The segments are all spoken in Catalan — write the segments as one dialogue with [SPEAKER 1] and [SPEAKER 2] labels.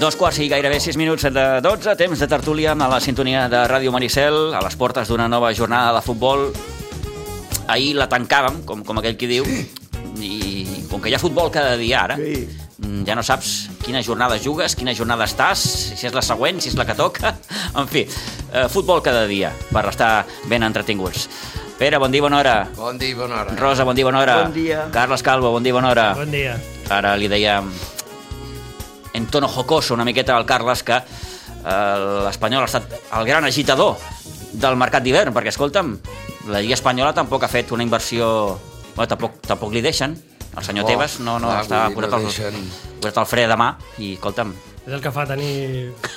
[SPEAKER 1] Dos quarts i gairebé sis minuts de 12, temps de tertúlia a la sintonia de Ràdio Maricel, a les portes d'una nova jornada de futbol. Ahir la tancàvem, com, com aquell qui diu, i com que hi ha futbol cada dia ara,
[SPEAKER 2] Sí.
[SPEAKER 1] mm, ja no saps quina jornada jugues, quina jornada estàs, si és la següent, si és la que toca... En fi, eh, futbol cada dia, per estar ben entretinguts. Pere, bon dia, bona hora.
[SPEAKER 3] Bon dia i bona hora.
[SPEAKER 1] Rosa, bon dia, bona hora.
[SPEAKER 2] Bon dia.
[SPEAKER 1] Carles Calvo, bon dia, bona hora.
[SPEAKER 4] Bon dia.
[SPEAKER 1] Ara li dèiem en tono jocoso una miqueta al Carles que eh, l'Espanyol ha estat el gran agitador del mercat d'hivern, perquè, escolta'm, la Lliga Espanyola tampoc ha fet una inversió... Bueno, tampoc, tampoc li deixen. El senyor
[SPEAKER 3] Oh,
[SPEAKER 1] Tebas no, no,
[SPEAKER 3] clar,
[SPEAKER 1] està
[SPEAKER 3] vull dir,
[SPEAKER 1] posat,
[SPEAKER 3] no
[SPEAKER 1] el,
[SPEAKER 3] deixen.
[SPEAKER 1] posat el fre de mà i, escolta'm,
[SPEAKER 4] És el que fa tenir...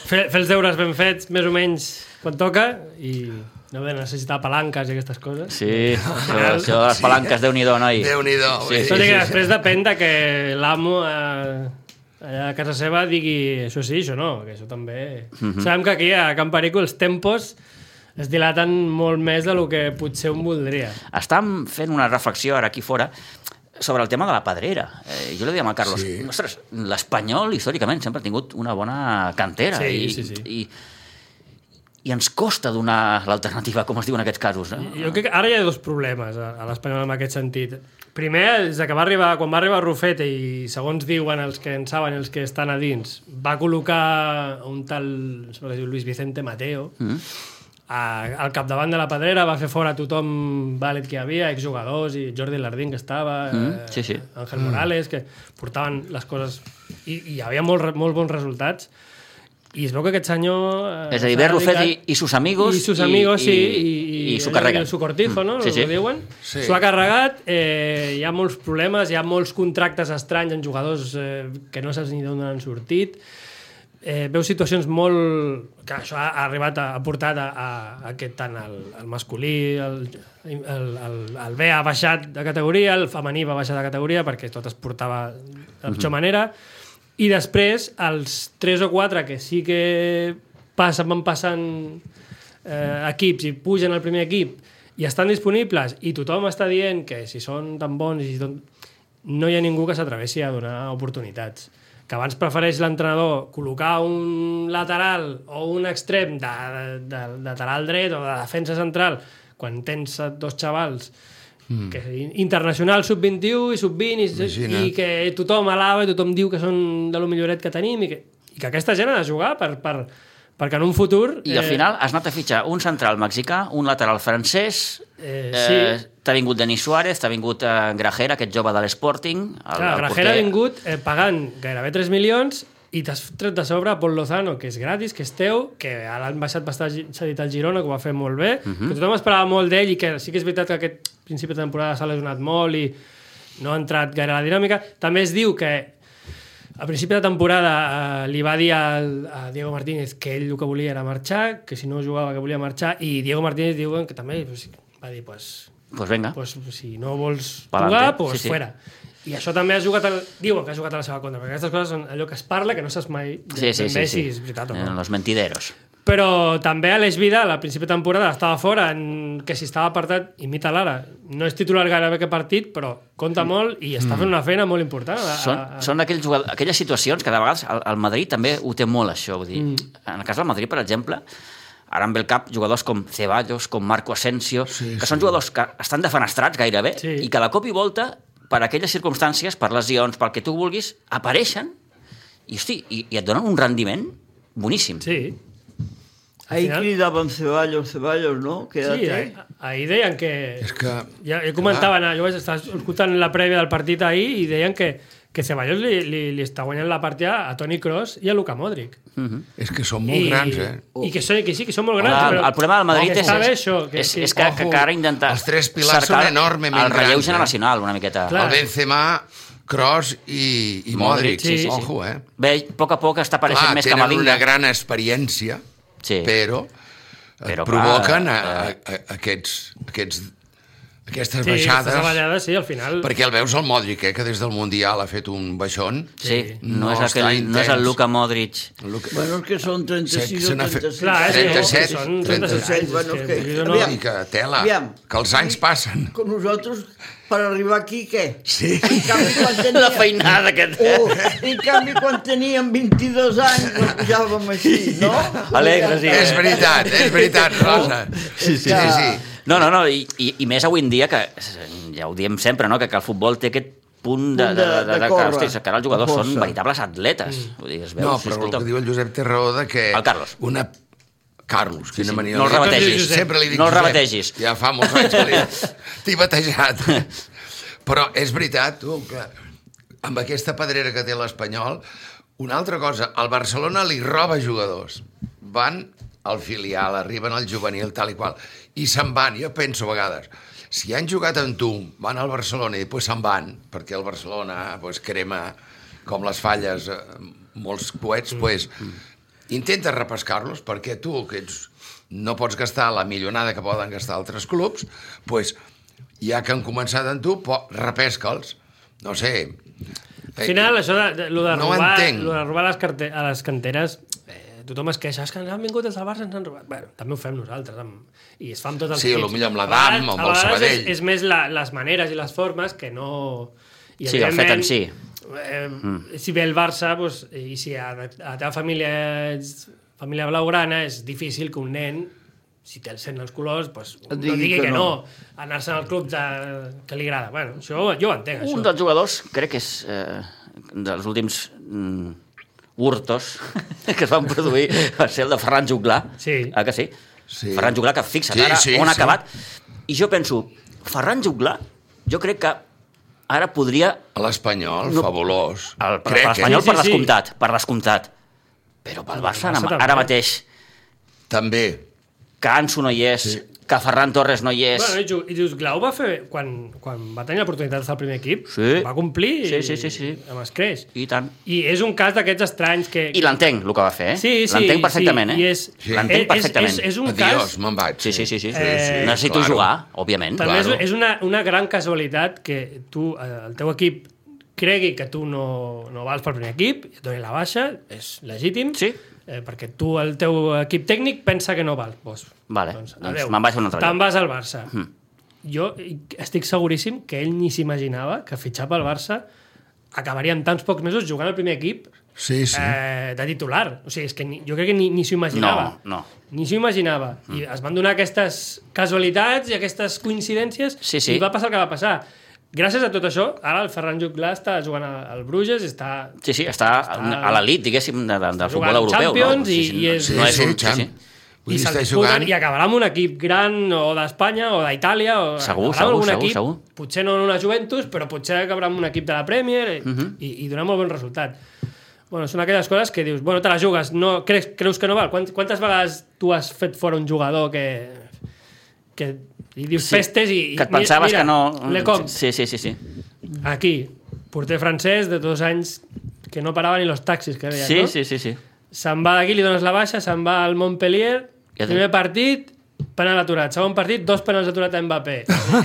[SPEAKER 4] Fer, fer els deures ben fets, més o menys, quan toca, i no haver de necessitar palanques i aquestes coses.
[SPEAKER 1] sí, això de les palanques, Déu-n'hi-do, noi.
[SPEAKER 3] Déu-n'hi-do, vull
[SPEAKER 1] Sí,
[SPEAKER 3] dir.
[SPEAKER 4] Tot i
[SPEAKER 1] sí,
[SPEAKER 4] que
[SPEAKER 1] sí.
[SPEAKER 4] després depèn de que l'amo eh, allà a casa seva digui això sí, això no, que això també...
[SPEAKER 1] Mhm.
[SPEAKER 4] Sabem que aquí a Can Perico els tempos es dilaten molt més del que potser un voldria.
[SPEAKER 1] Estàvem fent una reflexió ara aquí fora sobre el tema de la pedrera. Eh, jo li dèiem a Carlos, sí.
[SPEAKER 3] Sí.
[SPEAKER 1] ostres, l'Espanyol històricament sempre ha tingut una bona cantera
[SPEAKER 4] Sí,
[SPEAKER 1] i,
[SPEAKER 4] sí, sí.
[SPEAKER 1] I, i ens costa donar l'alternativa, com es diu en aquests casos. Eh?
[SPEAKER 4] Jo crec que ara hi ha dos problemes a, a l'Espanyol en aquest sentit. Primer, és que va arribar, quan va arribar Rufete i segons diuen els que en saben i els que estan a dins, va col·locar un tal, em sembla que es diu Luis Vicente Mateo, mm. a, al capdavant de la pedrera, va fer fora tothom vàlid que hi havia, exjugadors, i Jordi Lardín que estava, eh,
[SPEAKER 1] Mm, sí, sí. Mm.
[SPEAKER 4] Ángel Morales, que portaven les coses... I, i hi havia molt, re- molt bons resultats. I es veu que aquest senyor... eh,
[SPEAKER 1] És a dir,
[SPEAKER 4] s'ha
[SPEAKER 1] Berro Fet i,
[SPEAKER 4] dedicat-
[SPEAKER 1] i sus amigos...
[SPEAKER 4] i sus amigos, sí, i,
[SPEAKER 1] I, i, s'ho
[SPEAKER 4] allò que
[SPEAKER 1] carreguen. Mm,
[SPEAKER 4] diu Su cortijo, no?
[SPEAKER 1] Sí, sí.
[SPEAKER 4] Ho diuen.
[SPEAKER 3] Sí.
[SPEAKER 4] S'ho ha carregat, eh, hi ha molts problemes, hi ha molts contractes estranys en jugadors eh, que no saps ni d'on han sortit. Eh, veu situacions molt... que això ha, ha arribat, a, ha portat a, a, a que tant el, el masculí, el, el, el, el B ha baixat de categoria, el femení va baixar de categoria perquè tot es portava de pitjor manera. I després, els 3 o 4 que sí que passen, van passant eh, equips i pugen al primer equip i estan disponibles i tothom està dient que si són tan bons i si ton... no hi ha ningú que s'atreveixi a donar oportunitats que abans prefereix l'entrenador col·locar un lateral o un extrem de, de, de lateral dret o de defensa central quan tens dos xavals mm. que internacional sub-21 i sub-20 i,
[SPEAKER 3] Imagina't.
[SPEAKER 4] i que tothom alava i tothom diu que són de lo milloret que tenim i que, i que aquesta gent ha de jugar per, per, perquè en un futur eh,
[SPEAKER 1] I al final has anat a fitxar un central mexicà, un lateral francès...
[SPEAKER 4] Eh, sí.
[SPEAKER 1] T'ha vingut Denis Suárez, t'ha vingut eh, Grajera, aquest jove de l'Sporting. el-
[SPEAKER 4] Clar,
[SPEAKER 1] el
[SPEAKER 4] Ah, Grajera ha
[SPEAKER 1] porter-
[SPEAKER 4] vingut eh, pagant gairebé 3 milions i t'has tret de sobre a Pol Lozano, que és gratis, que és teu, que a l'han baixat bastant cedit al Girona, que ho va fer molt bé, uh -huh. que tothom esperava molt d'ell i que sí que és veritat que aquest principi de temporada s'ha lesionat molt i no ha entrat gaire a la dinàmica. També es diu que a principi de temporada eh, li va dir al, a Diego Martínez que ell el que volia era marxar, que si no jugava que volia marxar, i Diego Martínez diuen que també pues, va dir pues,
[SPEAKER 1] Pues vinga.
[SPEAKER 4] pues, si no vols
[SPEAKER 1] Pa'lante.
[SPEAKER 4] jugar, pues
[SPEAKER 1] Sí, sí.
[SPEAKER 4] fuera. I això també ha jugat... Al... Diuen que ha jugat a la seva contra, perquè aquestes coses són allò que es parla, que no saps mai
[SPEAKER 1] Sí, sí,
[SPEAKER 4] ben
[SPEAKER 1] sí, sí.
[SPEAKER 4] bé si és veritat o
[SPEAKER 1] Eh,
[SPEAKER 4] no.
[SPEAKER 1] Los mentideros.
[SPEAKER 4] Però també Aleix Vidal, a principi de temporada, estava fora, en... que si estava apartat, imita l'ara. No és titular gairebé que partit, però compta molt i està fent una feina molt important. A,
[SPEAKER 1] Són,
[SPEAKER 4] a, a...
[SPEAKER 1] són aquells jugadors, aquelles situacions que de vegades el, el Madrid també ho té molt, això. Vull dir, mm. En el cas del Madrid, per exemple, ara em ve el cap jugadors com Ceballos, com Marco Asensio, sí, que són jugadors que estan defenestrats gairebé
[SPEAKER 4] Sí.
[SPEAKER 1] i que de cop i volta, per aquelles circumstàncies, per lesions, pel que tu vulguis, apareixen i, hosti, i, i et donen un rendiment boníssim.
[SPEAKER 4] Sí,
[SPEAKER 2] Ahí
[SPEAKER 4] final-
[SPEAKER 2] cridaven Ceballos, Ceballos, no?
[SPEAKER 4] sí,
[SPEAKER 2] Quédate.
[SPEAKER 4] ah- ahir deien que...
[SPEAKER 3] És que...
[SPEAKER 4] Ja, ja comentaven, ah. jo vaig estar escoltant la prèvia del partit ahir i deien que, que Ceballos li, li, li està guanyant la partida a Toni Kroos i a Luka Modric.
[SPEAKER 3] És que són molt
[SPEAKER 4] I,
[SPEAKER 3] grans, eh?
[SPEAKER 4] I que, són, que sí, que són molt grans.
[SPEAKER 1] Clar,
[SPEAKER 4] però
[SPEAKER 1] el problema del Madrid
[SPEAKER 4] que
[SPEAKER 1] és,
[SPEAKER 4] està bé això, que,
[SPEAKER 1] és,
[SPEAKER 4] que,
[SPEAKER 1] és que, que,
[SPEAKER 3] Ojo,
[SPEAKER 1] que ara intentar
[SPEAKER 3] els tres pilars
[SPEAKER 1] cercar
[SPEAKER 3] són enormement
[SPEAKER 1] el relleu
[SPEAKER 3] grans, eh?
[SPEAKER 1] generacional una miqueta
[SPEAKER 4] clar.
[SPEAKER 3] El Benzema, Kroos i, i Modric.
[SPEAKER 1] sí, sí, sí.
[SPEAKER 3] Ojo, eh?
[SPEAKER 1] Bé, a poc a poc està apareixent
[SPEAKER 3] Clar,
[SPEAKER 1] més
[SPEAKER 3] tenen
[SPEAKER 1] Camavinga.
[SPEAKER 3] una gran experiència,
[SPEAKER 1] Sí.
[SPEAKER 3] però,
[SPEAKER 1] Però, eh,
[SPEAKER 3] però provoquen
[SPEAKER 1] clar,
[SPEAKER 3] a, a, a, aquests, aquests aquestes
[SPEAKER 4] Sí,
[SPEAKER 3] baixades,
[SPEAKER 4] aquestes ballades, sí, al final...
[SPEAKER 3] perquè el veus al Modric, eh, que des del Mundial ha fet un baixón.
[SPEAKER 1] Sí, no,
[SPEAKER 3] No
[SPEAKER 1] és,
[SPEAKER 3] està
[SPEAKER 1] aquell, no és el
[SPEAKER 3] intens.
[SPEAKER 1] Luka Modric.
[SPEAKER 3] El que-
[SPEAKER 2] Bueno, és que són 36
[SPEAKER 3] Se
[SPEAKER 2] o
[SPEAKER 3] n'ha fet-
[SPEAKER 2] 37.
[SPEAKER 4] Clar, és,
[SPEAKER 3] 37,
[SPEAKER 4] que són 36 anys.
[SPEAKER 2] 36, bueno,
[SPEAKER 4] és
[SPEAKER 2] és
[SPEAKER 4] que,
[SPEAKER 2] que-
[SPEAKER 4] vull dir, no,
[SPEAKER 2] aviam.
[SPEAKER 3] I que tela,
[SPEAKER 2] Aviam.
[SPEAKER 3] que els anys passen.
[SPEAKER 2] Com nosaltres, per arribar aquí, què?
[SPEAKER 3] Sí.
[SPEAKER 2] En canvi, quan teníem...
[SPEAKER 1] La feinada que té.
[SPEAKER 3] Uh.
[SPEAKER 2] Oh, en canvi, quan teníem 22 anys, no pujàvem així, no?
[SPEAKER 1] Alegres i-
[SPEAKER 3] És veritat, és veritat, Rosa. Sí, sí, sí. sí.
[SPEAKER 1] No, no, no, i, i, i més avui en dia, que ja ho diem sempre, no? que, que el futbol té aquest punt de,
[SPEAKER 2] Punt
[SPEAKER 1] de,
[SPEAKER 2] de-
[SPEAKER 1] de, de,
[SPEAKER 2] de
[SPEAKER 1] de que,
[SPEAKER 2] córrer.
[SPEAKER 1] hòsties, que ara els jugadors són
[SPEAKER 2] Força. Mm.
[SPEAKER 1] veritables atletes. Vull dir, es veu,
[SPEAKER 3] No, però el que diu el Josep té raó de que...
[SPEAKER 1] El Carlos.
[SPEAKER 3] Una... Carlos, quina
[SPEAKER 1] sí,
[SPEAKER 3] mania.
[SPEAKER 1] no el
[SPEAKER 3] Sempre
[SPEAKER 1] rebategis.
[SPEAKER 3] li dic Josep. Sempre li dic
[SPEAKER 1] No el
[SPEAKER 3] Josep.
[SPEAKER 1] rebategis.
[SPEAKER 3] Ja fa molts anys que li... t'he batejat. Però és veritat, tu, que amb aquesta pedrera que té l'Espanyol, una altra cosa, el Barcelona li roba jugadors. Van al filial, arriben al juvenil, tal i qual, i se'n van. Jo penso a vegades, si han jugat amb tu, van al Barcelona i després se'n van, perquè el Barcelona pues, crema com les falles, eh, molts coets, pues, intenta repescar-los perquè tu, que ets, no pots gastar la millonada que poden gastar altres clubs, pues, ja que han començat amb tu, po- repesca'ls. No sé...
[SPEAKER 4] Al final, això de, de, lo de
[SPEAKER 3] No
[SPEAKER 4] robar,
[SPEAKER 3] entenc.
[SPEAKER 4] lo de robar les carte, a les canteres, eh, tothom es queixa, és que ens han vingut els del Barça, ens han robat. Bueno, també ho fem nosaltres, amb... i es fa amb tots els
[SPEAKER 3] Sí,
[SPEAKER 4] equips.
[SPEAKER 3] potser amb
[SPEAKER 4] A
[SPEAKER 3] l'Adam, amb
[SPEAKER 4] vegades- a
[SPEAKER 3] el
[SPEAKER 4] vegades
[SPEAKER 3] Sabadell.
[SPEAKER 4] És, és més la, les maneres i les formes que no... I,
[SPEAKER 1] Sí, el fet en
[SPEAKER 4] evidentment,
[SPEAKER 1] si. Mm.
[SPEAKER 4] Eh, Si ve el Barça, doncs, i si a, a la teva família ets família blaugrana, és difícil que un nen si té el sent els colors, doncs, no digui, que, no, anar-se'n al club de... que li agrada. Bueno, això, jo ho entenc, això.
[SPEAKER 1] Un dels jugadors, crec que és eh, dels últims mm, hurtos que es van produir, va ser el de Ferran Juglà.
[SPEAKER 4] Sí.
[SPEAKER 1] Ah, que sí?
[SPEAKER 3] Sí.
[SPEAKER 1] Ferran Juglà, que fixa't
[SPEAKER 3] Sí,
[SPEAKER 1] ara
[SPEAKER 3] sí,
[SPEAKER 1] on ha
[SPEAKER 3] sí.
[SPEAKER 1] acabat. I jo penso, Ferran Juglà, jo crec que ara podria
[SPEAKER 3] Eh, L'Espanyol,
[SPEAKER 1] No.
[SPEAKER 3] fabulós.
[SPEAKER 1] El, per,
[SPEAKER 3] Crec eh?
[SPEAKER 1] per
[SPEAKER 3] que-
[SPEAKER 1] l'Espanyol,
[SPEAKER 4] Sí, sí,
[SPEAKER 1] per
[SPEAKER 4] sí.
[SPEAKER 1] descomptat, per descomptat. Però pel Barça,
[SPEAKER 4] Barça
[SPEAKER 1] ara,
[SPEAKER 4] també.
[SPEAKER 1] ara mateix,
[SPEAKER 3] També.
[SPEAKER 1] que Ansu no hi és, que Ferran Torres no hi és...
[SPEAKER 4] Bueno, i, Ju- i dius, Glau va fer... Quan, quan va tenir l'oportunitat d'estar al primer equip,
[SPEAKER 1] Sí.
[SPEAKER 4] va complir
[SPEAKER 1] Sí, sí, sí, sí.
[SPEAKER 4] amb escreix.
[SPEAKER 1] I
[SPEAKER 4] I,
[SPEAKER 1] tant.
[SPEAKER 4] I és un cas d'aquests estranys que...
[SPEAKER 1] I l'entenc, el que va fer, eh?
[SPEAKER 4] Sí, sí,
[SPEAKER 1] l'entenc perfectament,
[SPEAKER 4] sí, i
[SPEAKER 1] eh?
[SPEAKER 4] és-
[SPEAKER 3] Sí.
[SPEAKER 1] L'entenc
[SPEAKER 4] és-
[SPEAKER 1] perfectament.
[SPEAKER 4] és- és un
[SPEAKER 3] Adiós,
[SPEAKER 4] cas-
[SPEAKER 3] me'n vaig.
[SPEAKER 1] Sí, sí, sí. sí.
[SPEAKER 4] Eh,
[SPEAKER 1] Necessito
[SPEAKER 3] claro.
[SPEAKER 1] jugar, òbviament.
[SPEAKER 4] També és,
[SPEAKER 3] Claro.
[SPEAKER 4] és una, una gran casualitat que tu, eh, el teu equip cregui que tu no, no vals pel primer equip, et doni la baixa, és legítim,
[SPEAKER 1] Sí.
[SPEAKER 4] eh, perquè tu, el teu equip tècnic, pensa que no val. Vos,
[SPEAKER 1] Vale, doncs
[SPEAKER 4] adéu.
[SPEAKER 1] me'n vaig a un altre
[SPEAKER 4] Te'n
[SPEAKER 1] lloc. Hmm.
[SPEAKER 4] vas al Barça. Jo estic seguríssim que ell ni s'imaginava que fitxar pel Barça acabaria en tants pocs mesos jugant al primer equip
[SPEAKER 3] Sí, sí.
[SPEAKER 4] eh, de titular. O sigui, és que ni, jo crec que ni, ni s'ho imaginava.
[SPEAKER 1] No, no.
[SPEAKER 4] Ni s'ho imaginava. Mm. I es van donar aquestes casualitats i aquestes coincidències
[SPEAKER 1] Sí, sí.
[SPEAKER 4] i va passar el que va passar. Gràcies a tot això, ara el Ferran Juclà està jugant a- al Bruges, està...
[SPEAKER 1] Sí, sí, està a l'elit, diguéssim, de, de, del futbol
[SPEAKER 4] jugant
[SPEAKER 1] europeu.
[SPEAKER 4] Champions
[SPEAKER 1] no? Sí,
[SPEAKER 4] i-
[SPEAKER 1] sí,
[SPEAKER 4] i és-
[SPEAKER 1] No és
[SPEAKER 3] sí,
[SPEAKER 1] un...
[SPEAKER 3] sí,
[SPEAKER 1] Sí, sí.
[SPEAKER 3] Vull dir,
[SPEAKER 4] se'l
[SPEAKER 3] està
[SPEAKER 4] disputen
[SPEAKER 3] jugant...
[SPEAKER 4] I acabarà amb un equip gran o d'Espanya o d'Itàlia o
[SPEAKER 1] Segur,
[SPEAKER 4] acabarà amb
[SPEAKER 1] segur,
[SPEAKER 4] algun
[SPEAKER 1] segur,
[SPEAKER 4] equip,
[SPEAKER 1] segur.
[SPEAKER 4] potser no en una Juventus, però potser acabarà amb un equip de la Premier uh
[SPEAKER 1] Mhm.
[SPEAKER 4] -huh. i, i donarà molt bon resultat. Bueno, són aquelles coses que dius, bueno, te la jugues, no, creus, creus que no val? Quant, quantes vegades tu has fet fora un jugador que, que li dius
[SPEAKER 1] Sí,
[SPEAKER 4] festes i... i
[SPEAKER 1] Que et
[SPEAKER 4] mira-
[SPEAKER 1] pensaves
[SPEAKER 4] mira,
[SPEAKER 1] que no...
[SPEAKER 4] Lecomte,
[SPEAKER 1] Sí, sí, sí. sí.
[SPEAKER 4] aquí, porter francès de dos anys que no parava ni los taxis que veies,
[SPEAKER 1] Sí,
[SPEAKER 4] no?
[SPEAKER 1] sí, sí, sí.
[SPEAKER 4] Se'n va d'aquí, li dones la baixa, se'n va al Montpellier,
[SPEAKER 1] Ja té.
[SPEAKER 4] primer partit, penal aturat. Segon partit, dos penals aturat a Mbappé.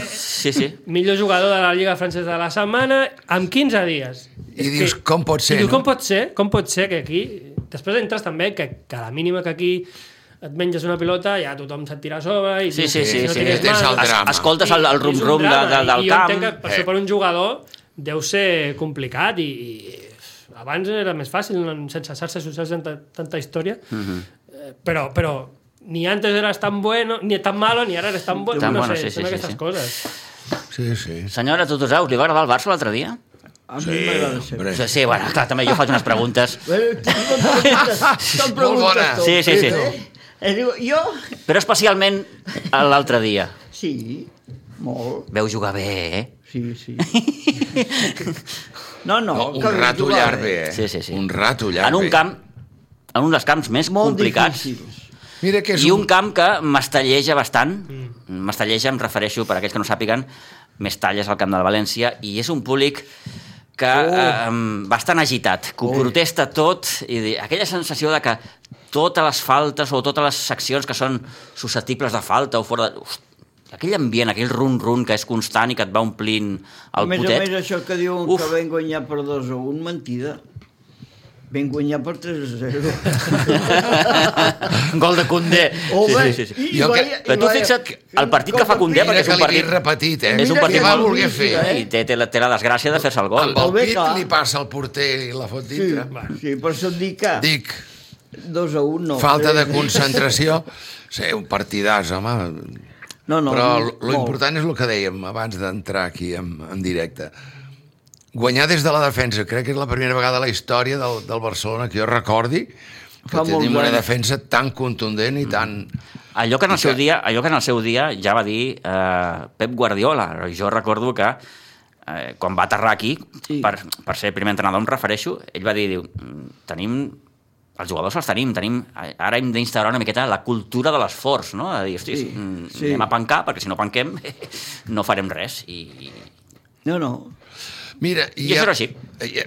[SPEAKER 1] Sí, sí.
[SPEAKER 4] Millor jugador de la Lliga Francesa de la setmana, amb 15 dies.
[SPEAKER 3] I dius, com pot ser,
[SPEAKER 4] I dius,
[SPEAKER 3] no?
[SPEAKER 4] com pot ser? Com pot ser que aquí... Després entres també que, que a la mínima que aquí et menges una pilota, ja tothom se't tira a sobre... I
[SPEAKER 1] Sí,
[SPEAKER 4] dius,
[SPEAKER 1] sí,
[SPEAKER 4] si
[SPEAKER 1] sí.
[SPEAKER 4] no
[SPEAKER 1] sí.
[SPEAKER 4] tires
[SPEAKER 3] Tens
[SPEAKER 4] mà,
[SPEAKER 3] el
[SPEAKER 1] Es-
[SPEAKER 3] drama.
[SPEAKER 1] Escoltes el, el
[SPEAKER 4] i- i és un
[SPEAKER 1] rum-rum de,
[SPEAKER 4] drama,
[SPEAKER 1] de, del camp.
[SPEAKER 4] i Jo entenc que per,
[SPEAKER 3] Eh.
[SPEAKER 4] això, per un jugador deu ser complicat i, i abans era més fàcil, no- sense xarxes socials tanta, tanta història,
[SPEAKER 1] Mhm.
[SPEAKER 4] Eh, però, però ni antes eras tan bueno, ni tan malo, ni ara eres tan bueno.
[SPEAKER 1] Tan
[SPEAKER 4] no
[SPEAKER 1] bueno,
[SPEAKER 4] sé,
[SPEAKER 1] sí, sí,
[SPEAKER 4] són
[SPEAKER 1] sí,
[SPEAKER 4] aquestes
[SPEAKER 1] sí.
[SPEAKER 4] coses.
[SPEAKER 3] Sí, sí.
[SPEAKER 1] Senyora Tutusaus, li va agradar el Barça l'altre dia?
[SPEAKER 2] A mi m'agrada sempre.
[SPEAKER 3] Hombre.
[SPEAKER 1] Sí, sí, bueno, clar, també jo faig unes preguntes.
[SPEAKER 2] Bueno, te'n preguntes, te'n
[SPEAKER 3] bona.
[SPEAKER 2] preguntes tu.
[SPEAKER 1] Sí, sí, sí.
[SPEAKER 2] Eh, diu, jo,
[SPEAKER 1] Però especialment l'altre dia.
[SPEAKER 2] sí, molt,
[SPEAKER 1] Veu jugar bé, eh?
[SPEAKER 2] sí, sí. No, no,
[SPEAKER 3] No, un
[SPEAKER 2] que
[SPEAKER 3] rato
[SPEAKER 2] jugava.
[SPEAKER 3] llarg bé, eh?
[SPEAKER 1] Sí, sí, sí.
[SPEAKER 3] Un rato llarg eh?
[SPEAKER 1] En un
[SPEAKER 3] bé.
[SPEAKER 1] camp, en un dels camps més
[SPEAKER 2] ¿eh? Molt
[SPEAKER 1] complicats.
[SPEAKER 2] difícils.
[SPEAKER 3] Mira que és
[SPEAKER 1] I un camp que m'estalleja bastant. M'estalleja, em refereixo, per aquells que no sàpiguen, més talles al camp del València, i és un públic que eh, bastant agitat, que ho protesta tot, i di- aquella sensació de que totes les faltes o totes les seccions que són susceptibles de falta o fora de... Ust, aquell ambient, aquell run-run que és constant i que et va omplint
[SPEAKER 2] A
[SPEAKER 1] el
[SPEAKER 2] més a
[SPEAKER 1] potet...
[SPEAKER 2] més, això que diuen
[SPEAKER 1] Uf.
[SPEAKER 2] que vam guanyar per 2 a 1, mentida. Vam guanyar per 3 a 0.
[SPEAKER 1] Gol de Condé.
[SPEAKER 2] Oh,
[SPEAKER 1] sí, sí, sí, sí.
[SPEAKER 2] I,
[SPEAKER 3] Jo
[SPEAKER 2] jo
[SPEAKER 3] que-
[SPEAKER 2] que,
[SPEAKER 1] Però tu fixa't, el partit que fa Condé,
[SPEAKER 3] Mira
[SPEAKER 1] perquè és
[SPEAKER 3] que
[SPEAKER 1] un
[SPEAKER 3] li partit...
[SPEAKER 1] partit...
[SPEAKER 3] repetit, eh?
[SPEAKER 1] És un
[SPEAKER 2] Mira
[SPEAKER 1] partit
[SPEAKER 3] que va
[SPEAKER 2] molt
[SPEAKER 3] voler fer.
[SPEAKER 2] difícil, eh?
[SPEAKER 1] I té, té, la, té la desgràcia de fer-se el gol.
[SPEAKER 3] Amb el
[SPEAKER 2] Molt bé,
[SPEAKER 3] pit
[SPEAKER 2] clar.
[SPEAKER 3] li passa al porter i la fot
[SPEAKER 2] Sí,
[SPEAKER 3] dintre. Sí.
[SPEAKER 2] sí, per això et dic que
[SPEAKER 3] Dic,
[SPEAKER 2] 2 a 1 no.
[SPEAKER 3] falta de
[SPEAKER 2] tres.
[SPEAKER 3] concentració. Sí, un partidàs, home.
[SPEAKER 2] No, no,
[SPEAKER 3] Però
[SPEAKER 2] molt.
[SPEAKER 3] l'important és el que dèiem abans d'entrar aquí en, en directe. Guanyar des de la defensa. Crec que és la primera vegada a la història del, del Barcelona que jo recordi que
[SPEAKER 2] Fa molts
[SPEAKER 3] tenim una
[SPEAKER 2] anys.
[SPEAKER 3] defensa tan contundent i tan...
[SPEAKER 1] Allò que en el
[SPEAKER 3] I
[SPEAKER 1] seu
[SPEAKER 3] que-
[SPEAKER 1] dia, allò que en el seu dia ja va dir eh, Pep Guardiola. Jo recordo que eh, quan va aterrar aquí, sí.
[SPEAKER 2] Sí.
[SPEAKER 1] per, per ser primer entrenador, em refereixo, ell va dir, diu, "Mm, tenim els jugadors els tenim, tenim ara hem d'instaurar una miqueta la cultura de l'esforç, no? De dir, hosti, sí,
[SPEAKER 2] Sí,
[SPEAKER 1] sí.
[SPEAKER 2] sí.
[SPEAKER 1] anem a pencar, perquè si no penquem no farem res. I, i...
[SPEAKER 2] No, no.
[SPEAKER 3] Mira,
[SPEAKER 1] I això era així.
[SPEAKER 3] I,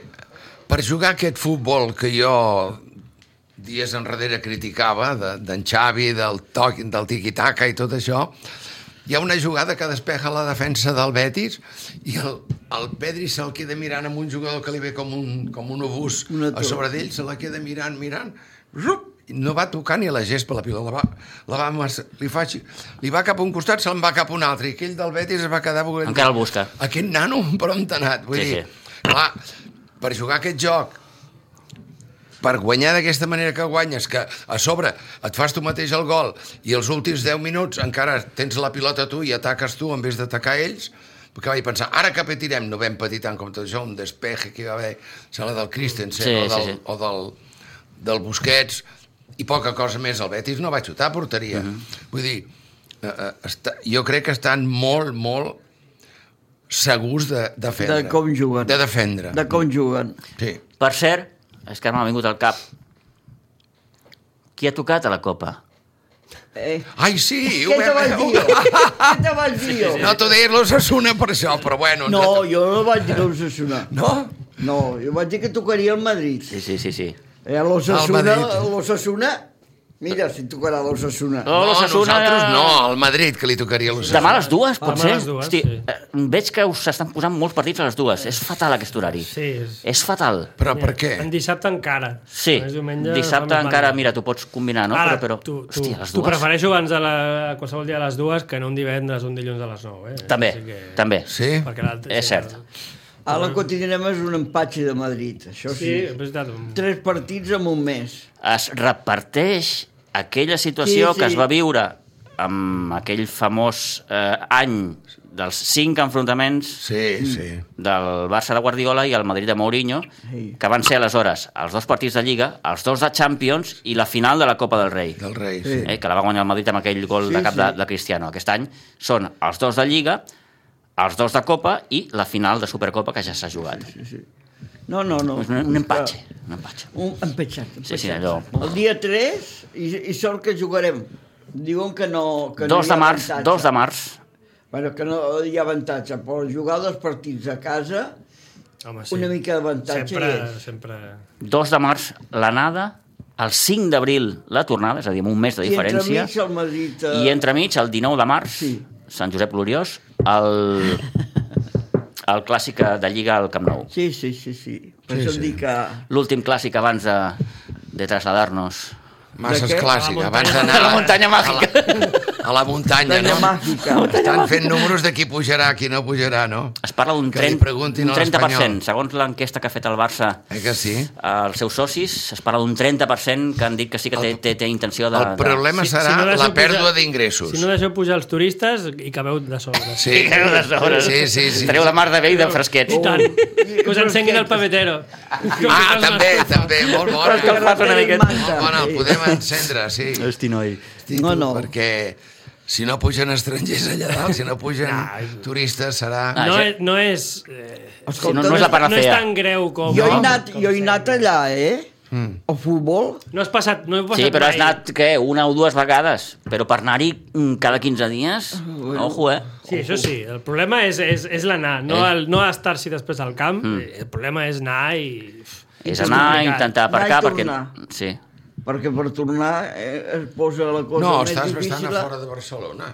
[SPEAKER 3] per jugar aquest futbol que jo dies enrere criticava, de- d'en de, Xavi, del, toc, del tiqui-taca i tot això, hi ha una jugada que despeja la defensa del Betis i el, el Pedri se'l queda mirant amb un jugador que li ve com un, com un obús
[SPEAKER 2] Una
[SPEAKER 3] a sobre d'ell, se la queda mirant, mirant, rup, i no va tocar ni a la gespa la pilota, la va, la va mas- li, fa, així, li va cap a un costat, se'n va cap a un altre, i aquell del Betis es va quedar... volent-
[SPEAKER 1] Encara el busca.
[SPEAKER 3] Aquest nano, per on t'ha anat? Vull
[SPEAKER 1] Sí,
[SPEAKER 3] sí, dir, sí. clar, per jugar aquest joc, per guanyar d'aquesta manera que guanyes, que a sobre et fas tu mateix el gol i els últims 10 minuts encara tens la pilota tu i ataques tu en vez d'atacar ells, perquè vaig pensar, ara que patirem, no vam patir tant com tot això, un despeje que hi va haver, sala del Christensen
[SPEAKER 1] Sí,
[SPEAKER 3] sí, o,
[SPEAKER 1] sí,
[SPEAKER 3] del,
[SPEAKER 1] sí.
[SPEAKER 3] o del, del Busquets, i poca cosa més, el Betis no va xutar a porteria. Uh
[SPEAKER 1] Mhm.
[SPEAKER 3] -huh. Vull dir, eh, eh, està, jo crec que estan molt, molt segurs de defendre.
[SPEAKER 2] De com juguen.
[SPEAKER 3] De defendre.
[SPEAKER 2] De com juguen.
[SPEAKER 3] Sí.
[SPEAKER 1] Per cert, és que ara m'ha vingut al cap, qui ha tocat a la Copa?
[SPEAKER 2] Eh,
[SPEAKER 3] Ai, sí,
[SPEAKER 2] què te vaig
[SPEAKER 3] eh,
[SPEAKER 2] dir jo? què te vaig dir jo?
[SPEAKER 3] No t'ho deia l'Ossassuna per això, però bueno...
[SPEAKER 2] No, jo no vaig dir que l'Ossassuna.
[SPEAKER 3] No?
[SPEAKER 2] No, jo vaig dir que tocaria el Madrid.
[SPEAKER 1] Sí, sí, sí, sí.
[SPEAKER 2] Eh, L'Ossassuna,
[SPEAKER 3] El Madrid.
[SPEAKER 2] l'Ossassuna... Mira, si tocarà l'Ossassuna.
[SPEAKER 1] No, l'Ossassuna-
[SPEAKER 3] nosaltres no, al Madrid que li tocaria l'Ossassuna.
[SPEAKER 1] Demà a les dues, pot
[SPEAKER 4] Demà
[SPEAKER 1] ser?
[SPEAKER 4] a les dues, sí.
[SPEAKER 1] eh, Veig que us estan posant molts partits a les dues. És fatal aquest horari.
[SPEAKER 4] Sí, és...
[SPEAKER 1] És fatal.
[SPEAKER 3] Però Ah, per què?
[SPEAKER 4] En dissabte encara.
[SPEAKER 1] Sí,
[SPEAKER 4] A més, diumenge
[SPEAKER 1] dissabte
[SPEAKER 4] fa més
[SPEAKER 1] encara,
[SPEAKER 4] mal.
[SPEAKER 1] mira, t'ho pots combinar, no?
[SPEAKER 4] Ara,
[SPEAKER 1] però, però...
[SPEAKER 4] tu, tu,
[SPEAKER 1] hòstia, a les
[SPEAKER 4] tu
[SPEAKER 1] dues.
[SPEAKER 4] prefereixo abans de la, qualsevol dia a les dues que no un divendres o un dilluns a les 9. Eh?
[SPEAKER 1] També,
[SPEAKER 4] Així
[SPEAKER 1] que... també.
[SPEAKER 3] Sí?
[SPEAKER 4] Perquè l'altre...
[SPEAKER 1] És cert.
[SPEAKER 2] A la quotidianema és un empatxe de Madrid, això
[SPEAKER 4] Sí,
[SPEAKER 2] sí.
[SPEAKER 4] és veritat.
[SPEAKER 2] Tres partits en un mes.
[SPEAKER 1] Es reparteix aquella situació
[SPEAKER 2] Sí, sí.
[SPEAKER 1] que es va viure amb aquell famós eh, any dels cinc enfrontaments
[SPEAKER 3] Sí, sí.
[SPEAKER 1] del Barça de Guardiola i el Madrid de Mourinho,
[SPEAKER 2] Sí.
[SPEAKER 1] que van ser aleshores els dos partits de Lliga, els dos de Champions i la final de la Copa del Rei.
[SPEAKER 3] Del rei, sí.
[SPEAKER 2] Sí.
[SPEAKER 1] eh, que la va guanyar el Madrid amb aquell gol
[SPEAKER 2] Sí,
[SPEAKER 1] de cap de,
[SPEAKER 2] sí.
[SPEAKER 1] de Cristiano. Aquest any són els dos de Lliga, els dos de Copa i la final de Supercopa que ja s'ha jugat.
[SPEAKER 2] No, no, no.
[SPEAKER 1] És un, un empatge, un empatge.
[SPEAKER 2] Un empatxat, empatxat.
[SPEAKER 1] Sí, sí, allò.
[SPEAKER 2] El dia 3, i, i sort que jugarem. Diuen que no... Que
[SPEAKER 1] Dos
[SPEAKER 2] no hi ha
[SPEAKER 1] de març,
[SPEAKER 2] avantatge.
[SPEAKER 1] dos de març.
[SPEAKER 2] Bueno, que no hi ha avantatge, però jugar dos partits a casa,
[SPEAKER 4] Home,
[SPEAKER 2] una mica d'avantatge
[SPEAKER 4] Ah, sempre,
[SPEAKER 2] hi és.
[SPEAKER 4] sempre...
[SPEAKER 1] 2 de març l'anada, el 5 d'abril la tornada, és a dir, amb un mes de
[SPEAKER 2] i
[SPEAKER 1] diferència.
[SPEAKER 2] entremig el Madrid... eh,
[SPEAKER 1] I entremig, el 19 de març,
[SPEAKER 2] Sí.
[SPEAKER 1] Sant Josep Gloriós, el, el clàssic de Lliga al Camp Nou.
[SPEAKER 2] Sí, sí, sí, sí. Per
[SPEAKER 3] Sí,
[SPEAKER 2] això
[SPEAKER 3] sí.
[SPEAKER 2] sí. dic que...
[SPEAKER 1] L'últim clàssic abans de, de traslladar-nos
[SPEAKER 3] Masses
[SPEAKER 2] De què?
[SPEAKER 3] clàssic.
[SPEAKER 4] A la
[SPEAKER 3] Abans
[SPEAKER 4] muntanya-
[SPEAKER 3] d'anar
[SPEAKER 1] a la muntanya màgica.
[SPEAKER 3] A la muntanya,
[SPEAKER 2] Muntanya
[SPEAKER 3] no?
[SPEAKER 2] màgica.
[SPEAKER 3] Estan fent números de qui pujarà, qui no pujarà, no?
[SPEAKER 1] Es parla d'un
[SPEAKER 3] Que li
[SPEAKER 1] 30%,
[SPEAKER 3] preguntin
[SPEAKER 1] un
[SPEAKER 3] a l'Espanyol.
[SPEAKER 1] 30% segons l'enquesta que ha fet el Barça
[SPEAKER 3] Eh que sí?
[SPEAKER 1] als seus socis, es parla d'un 30% que han dit que sí que té, té, té intenció de...
[SPEAKER 3] El problema serà
[SPEAKER 4] deixeu
[SPEAKER 3] la pèrdua
[SPEAKER 4] pujar-
[SPEAKER 3] d'ingressos.
[SPEAKER 4] Si no deixeu pujar els turistes i cabeu de sobre.
[SPEAKER 1] De...
[SPEAKER 3] Sí.
[SPEAKER 1] Fiqueu de sobre.
[SPEAKER 3] Sí, sí, sí.
[SPEAKER 1] Treu la mar de bé i de fresquets.
[SPEAKER 4] I tant.
[SPEAKER 2] Oh.
[SPEAKER 4] Que us encenguin el pavetero.
[SPEAKER 3] Ah, també, també, molt
[SPEAKER 1] Però és que
[SPEAKER 3] bona. eh?
[SPEAKER 1] el fas una miqueta.
[SPEAKER 3] Molt bona, el podem encendre, sí.
[SPEAKER 1] Hosti, noi.
[SPEAKER 3] Hosti,
[SPEAKER 2] No,
[SPEAKER 3] tu,
[SPEAKER 2] no.
[SPEAKER 3] Perquè si no pugen estrangers allà dalt, si no pugen turistes, serà...
[SPEAKER 4] No
[SPEAKER 1] Ah, ja-
[SPEAKER 4] és, no és, eh,
[SPEAKER 1] Si no, no és la
[SPEAKER 4] no és
[SPEAKER 1] panacea.
[SPEAKER 4] tan greu com...
[SPEAKER 2] Jo he
[SPEAKER 4] com-
[SPEAKER 2] anat,
[SPEAKER 4] com
[SPEAKER 2] jo he anat
[SPEAKER 4] sembla.
[SPEAKER 2] allà, eh? Mm. Al futbol.
[SPEAKER 4] No has passat, no he passat
[SPEAKER 1] Sí, però has
[SPEAKER 4] mai.
[SPEAKER 1] anat, què, una o dues vegades? Però per anar-hi mm, cada 15 dies?
[SPEAKER 3] Ah,
[SPEAKER 2] Bueno.
[SPEAKER 1] Ojo, eh?
[SPEAKER 4] Sí, això sí. El problema és, és, és l'anar, no,
[SPEAKER 1] Eh.
[SPEAKER 4] el, no estar-s'hi després al camp. Mm. El problema és anar i...
[SPEAKER 1] És anar,
[SPEAKER 4] complicat.
[SPEAKER 1] intentar
[SPEAKER 2] Anar i
[SPEAKER 1] aparcar, perquè...
[SPEAKER 2] tornar.
[SPEAKER 1] Sí.
[SPEAKER 2] perquè per tornar eh, es posa la cosa
[SPEAKER 3] No,
[SPEAKER 2] doncs més
[SPEAKER 3] estàs
[SPEAKER 2] difícil.
[SPEAKER 3] bastant a fora de Barcelona.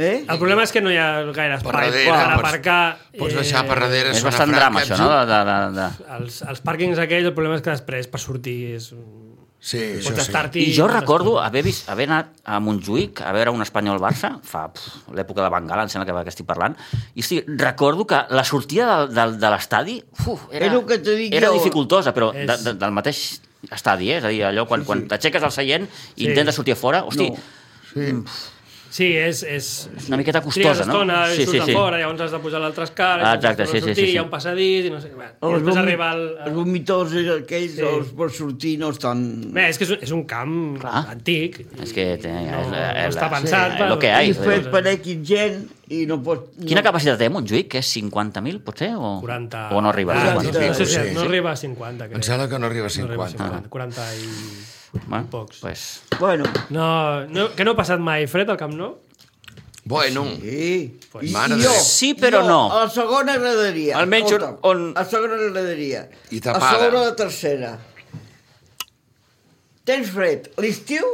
[SPEAKER 2] Eh?
[SPEAKER 4] El problema és que no hi ha
[SPEAKER 3] Per
[SPEAKER 4] gaire espai
[SPEAKER 3] darrere,
[SPEAKER 4] per
[SPEAKER 3] pots-
[SPEAKER 4] aparcar. eh,
[SPEAKER 3] Pots deixar per darrere
[SPEAKER 1] És
[SPEAKER 3] Zona
[SPEAKER 1] bastant
[SPEAKER 3] Franca,
[SPEAKER 1] drama, això, no? De, de, de, de...
[SPEAKER 4] Els, els pàrquings aquells, el problema és que després, per sortir, és... un-
[SPEAKER 3] Sí, això
[SPEAKER 4] pots
[SPEAKER 3] sí.
[SPEAKER 4] estar-t'hi...
[SPEAKER 1] I jo recordo haver, vist, haver anat a Montjuïc a veure un Espanyol-Barça, fa pf, l'època de Bengala, em sembla que, que estic parlant, i sí, recordo que la sortida de, de, de l'estadi uf, era,
[SPEAKER 2] És el que t'he dit
[SPEAKER 1] era
[SPEAKER 2] jo.
[SPEAKER 1] dificultosa, però
[SPEAKER 4] És-
[SPEAKER 1] de, de, del mateix estadi, eh? és a dir, allò quan, quan t'aixeques al seient i
[SPEAKER 4] Sí.
[SPEAKER 1] intentes sortir a fora, hosti,
[SPEAKER 2] No. Mm.
[SPEAKER 4] Sí, és... és...
[SPEAKER 1] és una miqueta
[SPEAKER 4] Trigues
[SPEAKER 1] costosa, no?
[SPEAKER 4] estona, no?
[SPEAKER 1] sí, sí, sí.
[SPEAKER 4] fora, llavors has de posar l'altre escala,
[SPEAKER 1] Ah,
[SPEAKER 4] llavors
[SPEAKER 1] exacte,
[SPEAKER 4] has de
[SPEAKER 1] sí, sí,
[SPEAKER 4] sortir,
[SPEAKER 1] sí, sí.
[SPEAKER 4] hi ha un passadís, i no sé què. Bueno, I
[SPEAKER 2] Els,
[SPEAKER 4] després
[SPEAKER 2] vom...
[SPEAKER 4] arriba al...
[SPEAKER 2] els vomitors aquells,
[SPEAKER 4] Sí.
[SPEAKER 2] sí. els per sortir no estan...
[SPEAKER 4] Bé, és que és un, és un camp
[SPEAKER 1] Clar.
[SPEAKER 4] antic.
[SPEAKER 1] És que té-
[SPEAKER 4] no,
[SPEAKER 1] és
[SPEAKER 4] no,
[SPEAKER 1] la- és
[SPEAKER 4] està
[SPEAKER 1] la-
[SPEAKER 4] pensat
[SPEAKER 1] sí,
[SPEAKER 4] per...
[SPEAKER 1] lo que hay.
[SPEAKER 2] I
[SPEAKER 1] Ai,
[SPEAKER 2] fet
[SPEAKER 4] joder.
[SPEAKER 2] per equip gent i no pot...
[SPEAKER 1] Quina
[SPEAKER 2] no...
[SPEAKER 1] capacitat té Montjuïc? Que és 50.000, potser? O,
[SPEAKER 4] 40...
[SPEAKER 1] o no arriba? a
[SPEAKER 4] Ah,
[SPEAKER 1] 50.000?
[SPEAKER 4] no, sé,
[SPEAKER 3] Sí, sí.
[SPEAKER 4] no arriba a 50, crec.
[SPEAKER 3] Em sembla que no arriba a
[SPEAKER 4] No arriba a
[SPEAKER 3] 50.
[SPEAKER 4] 50, 40 i...
[SPEAKER 1] Bueno,
[SPEAKER 4] pocs.
[SPEAKER 1] Pues,
[SPEAKER 2] Bueno,
[SPEAKER 4] No, no, que no ha passat mai fred al Camp Nou?
[SPEAKER 3] Bueno,
[SPEAKER 2] sí.
[SPEAKER 4] Pues,
[SPEAKER 2] I-
[SPEAKER 3] mare
[SPEAKER 2] i
[SPEAKER 3] de
[SPEAKER 2] jo,
[SPEAKER 3] Déu.
[SPEAKER 1] Sí, però
[SPEAKER 2] jo,
[SPEAKER 1] no.
[SPEAKER 2] A la segona agradaria.
[SPEAKER 1] Almenys on-
[SPEAKER 2] Escolta'm,
[SPEAKER 1] on-
[SPEAKER 2] A la segona agradaria.
[SPEAKER 3] I
[SPEAKER 2] A
[SPEAKER 3] tapada.
[SPEAKER 2] sobre la tercera. Tens fred l'estiu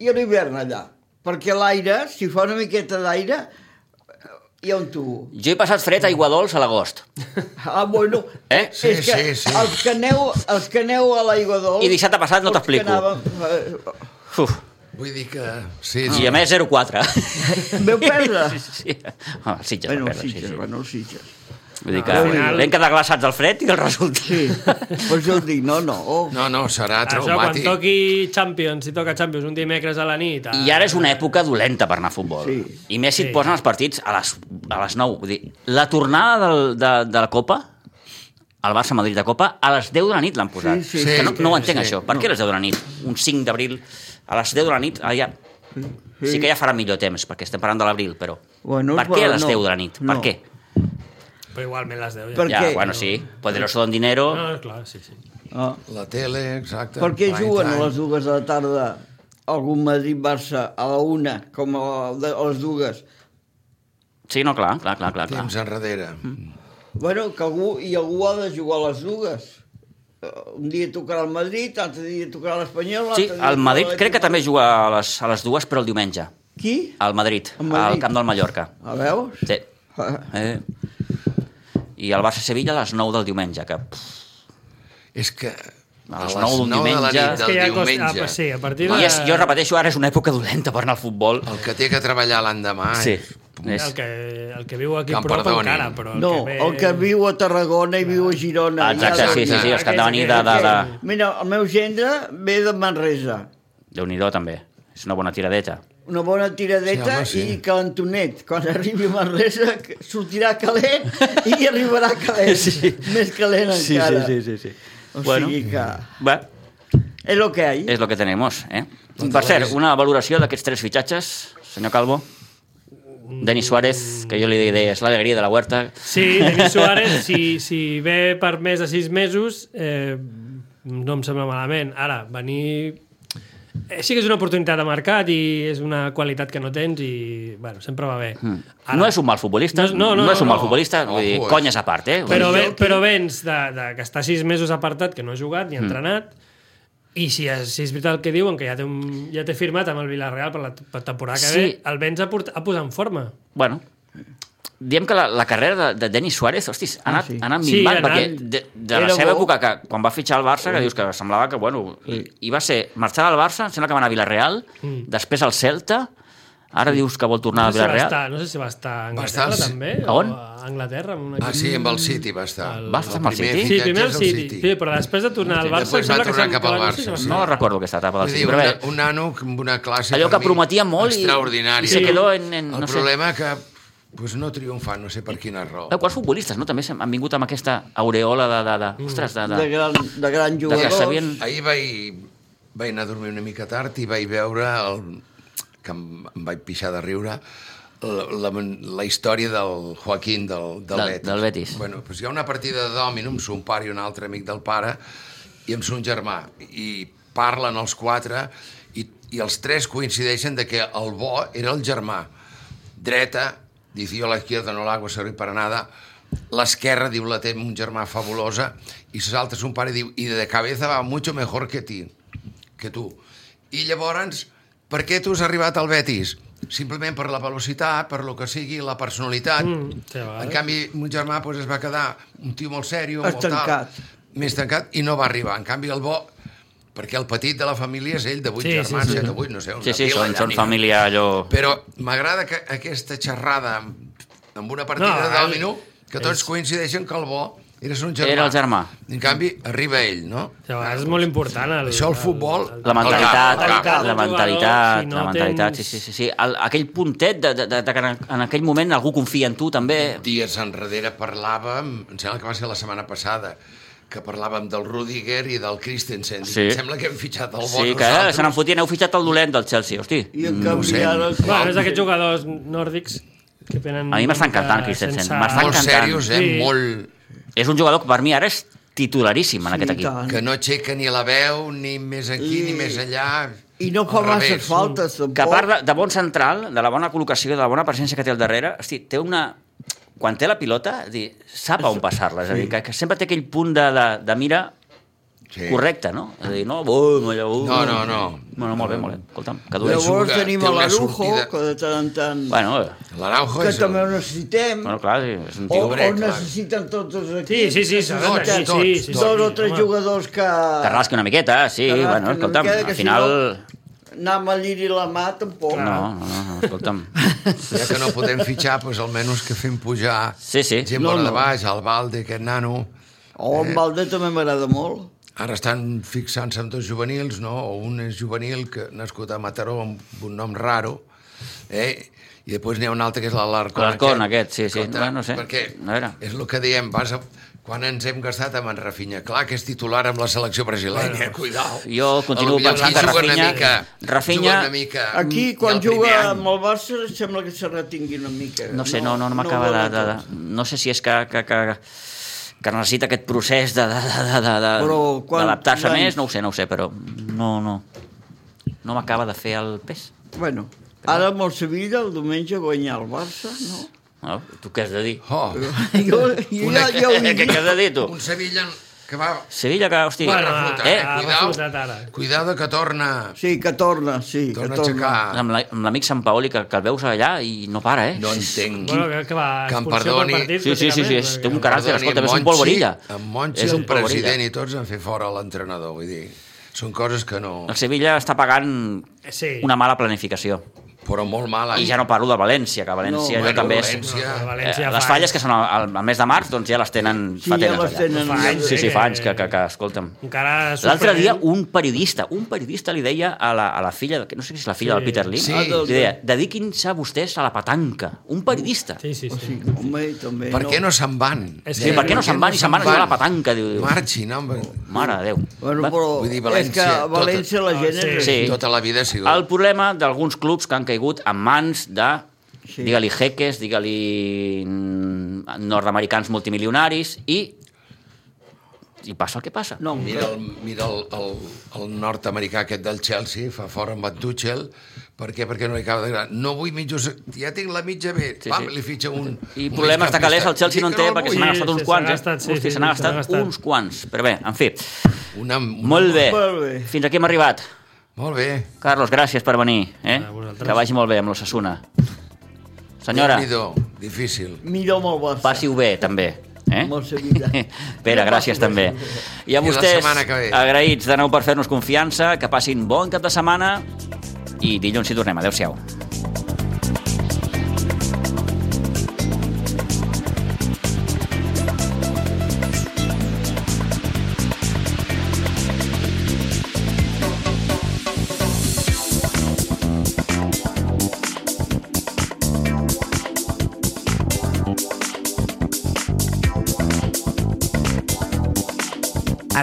[SPEAKER 2] i a l'hivern allà. Perquè l'aire, si fa una miqueta d'aire, eh, hi ha un tubo.
[SPEAKER 1] jo he passat fred a Iguadols a l'agost.
[SPEAKER 2] Ah, bueno.
[SPEAKER 1] Eh?
[SPEAKER 3] Sí,
[SPEAKER 2] és que
[SPEAKER 3] sí, sí.
[SPEAKER 2] Els que aneu, els que aneu a l'aigua dolç...
[SPEAKER 1] I dissabte passat no
[SPEAKER 2] els que
[SPEAKER 1] t'explico.
[SPEAKER 2] anàvem, eh,
[SPEAKER 1] Uf,
[SPEAKER 3] vull dir que... Sí,
[SPEAKER 1] I
[SPEAKER 3] sí.
[SPEAKER 1] a més 04.
[SPEAKER 2] eh, Veu perdre?
[SPEAKER 1] Sí, sí, sí. Ah, el Sitges
[SPEAKER 2] Bueno,
[SPEAKER 1] va
[SPEAKER 2] els
[SPEAKER 1] perdre, sí,
[SPEAKER 2] Sitges,
[SPEAKER 1] sí.
[SPEAKER 2] bueno, els Sitges.
[SPEAKER 1] Vull dir que
[SPEAKER 4] Al final-
[SPEAKER 1] vam quedar glaçats del fred i del resultat.
[SPEAKER 2] Sí, per això dic, no, no. Oh.
[SPEAKER 3] No, no, serà
[SPEAKER 4] Això, quan
[SPEAKER 3] traumàtic.
[SPEAKER 4] toqui Champions, si toca Champions un dimecres a la nit... ah, A...
[SPEAKER 1] I ara és una època dolenta per anar a futbol.
[SPEAKER 2] Sí.
[SPEAKER 1] I més si et
[SPEAKER 4] Sí.
[SPEAKER 1] posen els partits a les, a les 9. Vull dir, la tornada del, de, de la Copa, el Barça-Madrid de Copa, a les 10 de la nit l'han posat.
[SPEAKER 2] Sí, sí,
[SPEAKER 1] És que no,
[SPEAKER 3] sí,
[SPEAKER 1] no ho entenc,
[SPEAKER 3] sí.
[SPEAKER 1] això. Per què a les 10 de la nit? Un 5 d'abril, a les 10 de la nit, allà... Sí que ja farà millor temps, perquè estem parlant de l'abril, però...
[SPEAKER 2] Bueno,
[SPEAKER 1] per què a
[SPEAKER 2] però
[SPEAKER 1] les
[SPEAKER 2] no.
[SPEAKER 1] 10 de la nit? Per
[SPEAKER 2] No.
[SPEAKER 1] què?
[SPEAKER 4] Però igualment les 10 ja.
[SPEAKER 2] Per-
[SPEAKER 1] Ja,
[SPEAKER 2] què?
[SPEAKER 1] bueno, sí. Poderoso don dinero...
[SPEAKER 4] No, clar, sí, sí.
[SPEAKER 2] Ah.
[SPEAKER 3] La tele, exacte.
[SPEAKER 2] Per què
[SPEAKER 3] prime
[SPEAKER 2] juguen a
[SPEAKER 3] time.
[SPEAKER 2] les dues de la tarda algun Madrid-Barça a la una, com a la- a les dues?
[SPEAKER 1] Sí, no, clar, clar, clar, clar. clar.
[SPEAKER 3] Temps enrere.
[SPEAKER 1] Mm.
[SPEAKER 2] Bueno, que algú, i algú ha de jugar a les dues. Eh, Un dia tocarà el Madrid, l'altre dia tocarà l'Espanyol...
[SPEAKER 1] Sí,
[SPEAKER 2] l'altre dia
[SPEAKER 1] el
[SPEAKER 2] tocarà
[SPEAKER 1] Madrid crec que
[SPEAKER 2] l'Atlètic.
[SPEAKER 1] també juga a les, a les dues, però el diumenge.
[SPEAKER 2] Qui?
[SPEAKER 1] Al Madrid,
[SPEAKER 2] Al Madrid.
[SPEAKER 1] al camp del Mallorca.
[SPEAKER 2] A veus?
[SPEAKER 1] Sí. Eh. I el Barça-Sevilla a les 9 del diumenge, que... pff,
[SPEAKER 3] És que...
[SPEAKER 1] A les nou d'un
[SPEAKER 3] nou de la
[SPEAKER 1] diumenge.
[SPEAKER 3] nit
[SPEAKER 1] És
[SPEAKER 3] del
[SPEAKER 4] que ja costa-
[SPEAKER 3] diumenge.
[SPEAKER 4] ah, pues sí, a partir de...
[SPEAKER 1] I és, jo repeteixo, ara és una època dolenta per anar al futbol.
[SPEAKER 3] El que té que treballar l'endemà...
[SPEAKER 1] Sí.
[SPEAKER 3] és-
[SPEAKER 1] És...
[SPEAKER 4] El que, el que viu aquí
[SPEAKER 3] Que
[SPEAKER 4] que
[SPEAKER 3] em
[SPEAKER 4] prop
[SPEAKER 3] perdonin.
[SPEAKER 4] encara, però...
[SPEAKER 2] No,
[SPEAKER 4] el que, ve...
[SPEAKER 2] el que viu a Tarragona i viu a Girona...
[SPEAKER 1] Exacte,
[SPEAKER 2] ja
[SPEAKER 1] sí, sí, sí, els que han de venir de... de, de...
[SPEAKER 2] Mira, el meu gendre ve de Manresa.
[SPEAKER 1] Déu-n'hi-do, també. És una bona tiradeta.
[SPEAKER 2] Una bona tiradeta
[SPEAKER 3] Sí,
[SPEAKER 2] sí,
[SPEAKER 3] home, sí.
[SPEAKER 2] i calentonet. Quan arribi a Manresa que sortirà calent i arribarà calent. Sí. Més calent encara.
[SPEAKER 1] sí, sí.
[SPEAKER 2] O
[SPEAKER 1] Bueno.
[SPEAKER 2] sigui que...
[SPEAKER 1] Bé,
[SPEAKER 2] És el que hi ha.
[SPEAKER 1] és lo que tenemos, eh?
[SPEAKER 2] Doncs
[SPEAKER 1] Per cert, una valoració d'aquests tres fitxatges, senyor Calvo. Denis Suárez, que jo li deia, és l'alegria de la huerta.
[SPEAKER 4] Sí, Denis Suárez, si, si ve per més de sis mesos, eh, no em sembla malament. Ara, venir... Eh, sí que és una oportunitat de mercat i és una qualitat que no tens i, bueno, sempre va bé.
[SPEAKER 1] Hmm.
[SPEAKER 4] Ara,
[SPEAKER 1] No és un mal futbolista,
[SPEAKER 4] No és- no, no,
[SPEAKER 1] no és un
[SPEAKER 4] no.
[SPEAKER 1] mal futbolista, vull dir,
[SPEAKER 3] Ojo, eh.
[SPEAKER 1] conyes a part, eh? Vull
[SPEAKER 4] Però,
[SPEAKER 1] dir,
[SPEAKER 4] ve, però vens de, de, que està sis mesos apartat, que no ha jugat
[SPEAKER 1] Hmm.
[SPEAKER 4] ni ha entrenat, i si és, si és veritat el que diuen, que ja té, un, ja té firmat amb el Villarreal per la per temporada que
[SPEAKER 1] Sí.
[SPEAKER 4] ve, el vens a, port, a posar en forma.
[SPEAKER 1] Bueno, diem que la, la carrera de, de Denis Suárez, hostis, ha anat,
[SPEAKER 2] sí.
[SPEAKER 1] ha anat
[SPEAKER 4] Ah, Sí,
[SPEAKER 1] minvant,
[SPEAKER 4] ha anat.
[SPEAKER 1] perquè de, de la
[SPEAKER 2] Era
[SPEAKER 1] seva
[SPEAKER 2] bo.
[SPEAKER 1] època, que, quan va fitxar el Barça, que dius que semblava que, bueno, i, i va ser marxar del Barça, em sembla que va anar a Villarreal, després al Celta, ara dius que vol tornar al
[SPEAKER 4] Mm. No sé, si va
[SPEAKER 1] Ah, Villarreal.
[SPEAKER 4] estar, no sé si va estar a
[SPEAKER 3] Va estar
[SPEAKER 4] Anglaterra,
[SPEAKER 3] al-
[SPEAKER 4] també.
[SPEAKER 1] A on?
[SPEAKER 4] o A Anglaterra, amb un equip.
[SPEAKER 3] Ah, sí, amb el City va estar.
[SPEAKER 4] El-
[SPEAKER 1] Va estar amb el
[SPEAKER 3] primer
[SPEAKER 1] City?
[SPEAKER 4] Sí,
[SPEAKER 3] fitxatge
[SPEAKER 4] primer el
[SPEAKER 3] és
[SPEAKER 4] City, sí, però després de tornar al Barça...
[SPEAKER 3] Després
[SPEAKER 4] em sembla
[SPEAKER 3] va
[SPEAKER 4] que
[SPEAKER 3] tornar
[SPEAKER 4] s'han-
[SPEAKER 3] cap al
[SPEAKER 4] que van- no sé si
[SPEAKER 3] Barça,
[SPEAKER 4] va
[SPEAKER 3] sí.
[SPEAKER 4] ser-
[SPEAKER 1] No recordo aquesta etapa del
[SPEAKER 3] Vull dir,
[SPEAKER 1] City, però
[SPEAKER 3] una,
[SPEAKER 1] bé,
[SPEAKER 3] un nano amb una classe...
[SPEAKER 1] allò
[SPEAKER 3] per
[SPEAKER 1] que
[SPEAKER 3] mi,
[SPEAKER 1] prometia molt i, i
[SPEAKER 3] Extraordinària.
[SPEAKER 1] se quedó en... en
[SPEAKER 3] El
[SPEAKER 1] no sé.
[SPEAKER 3] problema que pues, no triomfa, no sé per quina raó.
[SPEAKER 1] Clar, Eh, Quants futbolistes, no? També s'han- han vingut amb aquesta aureola de... de,
[SPEAKER 4] Mm.
[SPEAKER 1] de ostres, de,
[SPEAKER 2] De
[SPEAKER 1] de,
[SPEAKER 2] gran, de gran
[SPEAKER 1] de que
[SPEAKER 2] jugador.
[SPEAKER 1] sabien...
[SPEAKER 3] Ahir vaig, vaig anar a dormir una mica tard i vaig veure, el, que em, em vaig pixar de riure, la, la, la història del Joaquín del, del,
[SPEAKER 1] Del-
[SPEAKER 3] Betis.
[SPEAKER 1] del Betis.
[SPEAKER 3] Bueno, doncs hi ha una partida de dòminum, son pare i un altre amic del pare, i amb son germà. I parlen els quatre i, i els tres coincideixen de que el bo era el germà. Dreta, dice jo a la izquierda no l'hago servir per a nada, l'esquerra, diu, la té un germà fabulosa, i se salta son pare i diu, i de cabeza va mucho mejor que ti, que tu. I llavors, per què tu has arribat al Betis? Simplement per la velocitat, per lo que sigui, la personalitat.
[SPEAKER 4] Mm, sí, va.
[SPEAKER 3] en canvi, mon germà doncs, es va quedar un tio molt serio,
[SPEAKER 2] Més
[SPEAKER 3] molt tal,
[SPEAKER 2] tancat.
[SPEAKER 3] més tancat, i no va arribar. En canvi, el bo, perquè el petit de la família és ell, de vuit
[SPEAKER 4] Sí, sí,
[SPEAKER 3] germans,
[SPEAKER 4] sí.
[SPEAKER 3] set o vuit, no sé, una
[SPEAKER 1] Sí, sí,
[SPEAKER 3] pila
[SPEAKER 1] són,
[SPEAKER 3] allà,
[SPEAKER 1] són
[SPEAKER 3] ni-
[SPEAKER 1] família allò...
[SPEAKER 3] Però m'agrada que aquesta xerrada amb, amb una partida
[SPEAKER 4] No,
[SPEAKER 3] no, de dòmino, que
[SPEAKER 4] és-
[SPEAKER 3] tots coincideixen que el bo era son germà.
[SPEAKER 1] Era el germà.
[SPEAKER 3] En canvi, arriba ell, no?
[SPEAKER 4] Sí, va, és molt important. El,
[SPEAKER 3] Això el futbol...
[SPEAKER 1] La mentalitat,
[SPEAKER 3] El cap, el cap.
[SPEAKER 1] la
[SPEAKER 4] El
[SPEAKER 1] mentalitat,
[SPEAKER 4] jugador, si no
[SPEAKER 1] la mentalitat, sí,
[SPEAKER 4] tens-
[SPEAKER 1] sí, sí. sí. El, aquell puntet de, de, de, de, que en- en aquell moment algú confia en tu, també.
[SPEAKER 4] Oh,
[SPEAKER 3] Dies enrere parlàvem, em sembla que va ser la setmana passada, que parlàvem del Rudiger i del Christensen. Dic,
[SPEAKER 1] Sí.
[SPEAKER 3] Em sembla que hem fitxat el bo
[SPEAKER 1] Sí, que eh, se n'en fotien, heu fitxat el dolent del Chelsea, hosti.
[SPEAKER 2] I en
[SPEAKER 3] ho
[SPEAKER 2] canvi
[SPEAKER 3] sé.
[SPEAKER 2] ara...
[SPEAKER 4] Bueno, és d'aquests jugadors nòrdics que tenen...
[SPEAKER 1] A mi m'està
[SPEAKER 4] una mica
[SPEAKER 1] encantant Christensen,
[SPEAKER 4] sense-
[SPEAKER 1] m'està
[SPEAKER 3] Molt
[SPEAKER 1] encantant.
[SPEAKER 3] serios, eh?
[SPEAKER 4] Sí.
[SPEAKER 3] Molt...
[SPEAKER 1] És un jugador que per mi ara és titularíssim en
[SPEAKER 2] I
[SPEAKER 1] aquest equip.
[SPEAKER 2] tant.
[SPEAKER 3] Que no aixeca ni la veu, ni més aquí,
[SPEAKER 2] I-
[SPEAKER 3] ni més allà.
[SPEAKER 2] I no fa
[SPEAKER 3] Al
[SPEAKER 2] massa
[SPEAKER 3] revés.
[SPEAKER 2] faltes, tampoc.
[SPEAKER 4] Oh.
[SPEAKER 1] Que a part de, de bon central, de la bona col·locació, de la bona presència que té al darrere, hosti, té una... Quan té la pilota, és a dir, sap a on passar-la. És a dir, que, que sempre té aquell punt de, de, de mira
[SPEAKER 3] Sí.
[SPEAKER 1] correcte, no? És a dir, no, bum, allò, bum.
[SPEAKER 3] No, no, no.
[SPEAKER 1] Bueno, molt bé, molt bé. Escolta'm, que dolent.
[SPEAKER 3] Penso
[SPEAKER 2] Llavors
[SPEAKER 3] que
[SPEAKER 2] tenim
[SPEAKER 3] té una
[SPEAKER 2] l'Arujo,
[SPEAKER 3] sortida-
[SPEAKER 2] que de tant en tant...
[SPEAKER 1] Bueno, eh,
[SPEAKER 3] L'Araujo
[SPEAKER 2] que
[SPEAKER 3] és...
[SPEAKER 2] també ho necessitem.
[SPEAKER 1] bueno, clar, sí, és un
[SPEAKER 2] O,
[SPEAKER 1] tio...
[SPEAKER 3] Hombre,
[SPEAKER 2] o
[SPEAKER 3] clar.
[SPEAKER 2] necessiten tots els
[SPEAKER 4] Sí,
[SPEAKER 2] equips.
[SPEAKER 4] sí, sí, s'ha de
[SPEAKER 3] Tots,
[SPEAKER 4] tenir,
[SPEAKER 3] tots,
[SPEAKER 4] sí, sí, sí,
[SPEAKER 3] tots.
[SPEAKER 2] Dos o
[SPEAKER 4] sí,
[SPEAKER 2] tres
[SPEAKER 4] home.
[SPEAKER 2] jugadors que...
[SPEAKER 1] Que rasqui una miqueta, sí,
[SPEAKER 2] que rasquen
[SPEAKER 1] bueno,
[SPEAKER 2] una
[SPEAKER 1] escolta'm,
[SPEAKER 2] miqueta, que
[SPEAKER 1] al
[SPEAKER 2] si
[SPEAKER 1] final...
[SPEAKER 2] no, anar amb el lliri i la mà, tampoc.
[SPEAKER 1] No, no, no, no, escolta'm.
[SPEAKER 3] Ja que no podem fitxar, doncs almenys que fem pujar
[SPEAKER 1] Sí, sí.
[SPEAKER 3] gent
[SPEAKER 2] No,
[SPEAKER 3] bona de
[SPEAKER 2] no.
[SPEAKER 3] baix, el Valde, aquest nano.
[SPEAKER 2] O
[SPEAKER 1] Eh.
[SPEAKER 2] en Valde també m'agrada molt.
[SPEAKER 3] Ara estan fixant-se en dos juvenils, no? O un és juvenil que nascut a Mataró amb un nom raro, eh? I després n'hi ha un altre que és l'Alarcón.
[SPEAKER 1] L'Alarcón, aquest, sí, sí. Bueno, no sé.
[SPEAKER 3] Perquè
[SPEAKER 1] A veure.
[SPEAKER 3] és el que diem, vas a... quan ens hem gastat amb en Rafinha. Clar que és titular amb la selecció brasileña, bueno, cuidao.
[SPEAKER 1] Jo continuo
[SPEAKER 3] A lo millor
[SPEAKER 1] pensant
[SPEAKER 3] aquí
[SPEAKER 1] que
[SPEAKER 3] juga una
[SPEAKER 1] Rafinha-
[SPEAKER 3] mica-
[SPEAKER 1] Rafinha-
[SPEAKER 3] juga una mica
[SPEAKER 2] Aquí,
[SPEAKER 1] Mm,
[SPEAKER 3] del
[SPEAKER 2] quan
[SPEAKER 3] primer
[SPEAKER 2] juga
[SPEAKER 3] any.
[SPEAKER 2] amb el Barça, sembla que se retingui una mica.
[SPEAKER 1] No sé, no, no, no m'acaba de,
[SPEAKER 2] dona
[SPEAKER 1] de,
[SPEAKER 2] tot.
[SPEAKER 1] de... No sé si és que, que, que, que necessita aquest procés de, de, de, de, de,
[SPEAKER 2] Però quan-
[SPEAKER 1] d'adaptar-se
[SPEAKER 2] quan-
[SPEAKER 1] més, no ho sé, no ho sé, però no, no. No m'acaba de fer el pes.
[SPEAKER 2] Bueno, ara amb el Sevilla, el diumenge, guanyar el Barça, no?
[SPEAKER 1] No? Tu què has de dir?
[SPEAKER 3] Oh,
[SPEAKER 2] Jo, jo,
[SPEAKER 3] Una-
[SPEAKER 2] ja, ja ho
[SPEAKER 1] Què,
[SPEAKER 2] dic.
[SPEAKER 1] què has de dir, tu?
[SPEAKER 3] un Sevilla que va
[SPEAKER 1] Sevilla, que, hosti...
[SPEAKER 3] Bueno,
[SPEAKER 4] Bueno,
[SPEAKER 3] reflotat,
[SPEAKER 1] eh,
[SPEAKER 3] eh,
[SPEAKER 4] ha
[SPEAKER 3] cuidao,
[SPEAKER 4] reflotat ara.
[SPEAKER 3] cuidado que torna,
[SPEAKER 2] Sí, que torna, sí, que
[SPEAKER 3] torna a
[SPEAKER 2] torna.
[SPEAKER 3] aixecar.
[SPEAKER 1] amb la- amb l'amic Sant Paoli, que, que el veus allà i no para, eh?
[SPEAKER 3] No entenc.
[SPEAKER 4] Bueno, que, que va...
[SPEAKER 3] Que em
[SPEAKER 4] expulsió per
[SPEAKER 3] perdoni.
[SPEAKER 4] partit,
[SPEAKER 1] Sí, sí, sí, sí, és, té un
[SPEAKER 4] pràcticament,
[SPEAKER 1] caràcter,
[SPEAKER 3] Perdoni,
[SPEAKER 1] escolta, és un
[SPEAKER 3] Monchi-
[SPEAKER 1] polvorilla.
[SPEAKER 3] En Monchi,
[SPEAKER 1] És
[SPEAKER 3] el
[SPEAKER 1] un polvorilla.
[SPEAKER 3] president i tots han fet fora l'entrenador, vull dir, són coses que no...
[SPEAKER 1] El Sevilla està pagant
[SPEAKER 4] Sí.
[SPEAKER 1] una mala planificació.
[SPEAKER 3] Però molt mal.
[SPEAKER 1] I ja no parlo de València, que València
[SPEAKER 2] No,
[SPEAKER 1] no,
[SPEAKER 2] bueno,
[SPEAKER 1] bueno, també és...
[SPEAKER 3] València.
[SPEAKER 4] No,
[SPEAKER 1] Eh,
[SPEAKER 4] València
[SPEAKER 1] les
[SPEAKER 4] fa-
[SPEAKER 1] falles que són al, al, al mes de març, doncs ja les tenen
[SPEAKER 2] Sí,
[SPEAKER 1] fa
[SPEAKER 2] ja
[SPEAKER 1] temps
[SPEAKER 2] les
[SPEAKER 1] allà.
[SPEAKER 2] tenen.
[SPEAKER 4] Fa anys,
[SPEAKER 1] Sí, sí,
[SPEAKER 4] eh,
[SPEAKER 1] fa
[SPEAKER 4] que-
[SPEAKER 1] anys que, que, que escolta'm.
[SPEAKER 4] Encara
[SPEAKER 1] L'altre dia
[SPEAKER 4] sorprenent.
[SPEAKER 1] un periodista, un periodista li deia a la, a la filla, de- no sé si és la filla
[SPEAKER 4] Sí.
[SPEAKER 1] del Peter Lim,
[SPEAKER 2] Ah,
[SPEAKER 3] Sí.
[SPEAKER 2] doncs
[SPEAKER 1] li deia, dediquin-se vostès a la petanca. Un periodista.
[SPEAKER 4] Sí, sí, sí.
[SPEAKER 2] Oh, Sí, home, també.
[SPEAKER 3] Per què no se'n van?
[SPEAKER 4] És
[SPEAKER 1] Sí,
[SPEAKER 4] que-
[SPEAKER 1] per què no se'n van i se'n van a jugar a la petanca? Diu, diu.
[SPEAKER 3] Marxin, home.
[SPEAKER 1] Mare de Déu.
[SPEAKER 2] Bueno,
[SPEAKER 1] Va-
[SPEAKER 2] però
[SPEAKER 3] Vull
[SPEAKER 2] és
[SPEAKER 3] dir,
[SPEAKER 2] que
[SPEAKER 3] València,
[SPEAKER 2] a València la gent
[SPEAKER 4] tot-
[SPEAKER 2] és...
[SPEAKER 1] Sí.
[SPEAKER 3] Tota la vida ha sigut.
[SPEAKER 1] El problema d'alguns clubs que han caigut en mans de
[SPEAKER 2] Sí.
[SPEAKER 1] digue-li jeques, digue-li mm, nord-americans multimilionaris i i passa el que passa.
[SPEAKER 2] No,
[SPEAKER 3] Mira, el, mira el, el, el nord-americà aquest del Chelsea, fa fora amb en Tuchel, per què? Perquè no li acaba d'agradar. No vull mitjos... Ja tinc la mitja bé.
[SPEAKER 1] Sí,
[SPEAKER 3] Sí, Pam,
[SPEAKER 1] sí.
[SPEAKER 3] li fitxa un...
[SPEAKER 1] I
[SPEAKER 3] un
[SPEAKER 1] problemes de calés
[SPEAKER 3] migcampista.
[SPEAKER 1] el Chelsea no en
[SPEAKER 3] Dic que
[SPEAKER 1] té
[SPEAKER 3] el
[SPEAKER 1] perquè se
[SPEAKER 3] vull.
[SPEAKER 1] n'han
[SPEAKER 4] Sí,
[SPEAKER 1] gastat uns
[SPEAKER 4] se n'ha
[SPEAKER 1] quants, eh?
[SPEAKER 4] gastat, sí,
[SPEAKER 1] Hosti, se n'ha
[SPEAKER 4] sí, sí, se n'ha
[SPEAKER 1] gastat
[SPEAKER 4] gastat.
[SPEAKER 1] uns quants. Però bé, en fi,
[SPEAKER 3] Una, una...
[SPEAKER 1] molt bé.
[SPEAKER 2] Molt bé.
[SPEAKER 1] Fins aquí hem arribat.
[SPEAKER 3] Molt bé.
[SPEAKER 1] Carlos, gràcies per venir. Eh?
[SPEAKER 4] A vosaltres.
[SPEAKER 1] Que vagi molt bé amb l'Ossassuna. Senyora,
[SPEAKER 3] Déu-n'hi-do, difícil.
[SPEAKER 2] millor amb el Barça.
[SPEAKER 1] passi-ho bé, també. Eh?
[SPEAKER 2] Amb el Sevilla.
[SPEAKER 1] Pere, gràcies també. I a
[SPEAKER 3] I la
[SPEAKER 1] vostès,
[SPEAKER 3] setmana que ve.
[SPEAKER 1] agraïts de nou per fer-nos confiança, que passin bon cap de setmana i dilluns hi tornem. Adéu-siau.
[SPEAKER 5] A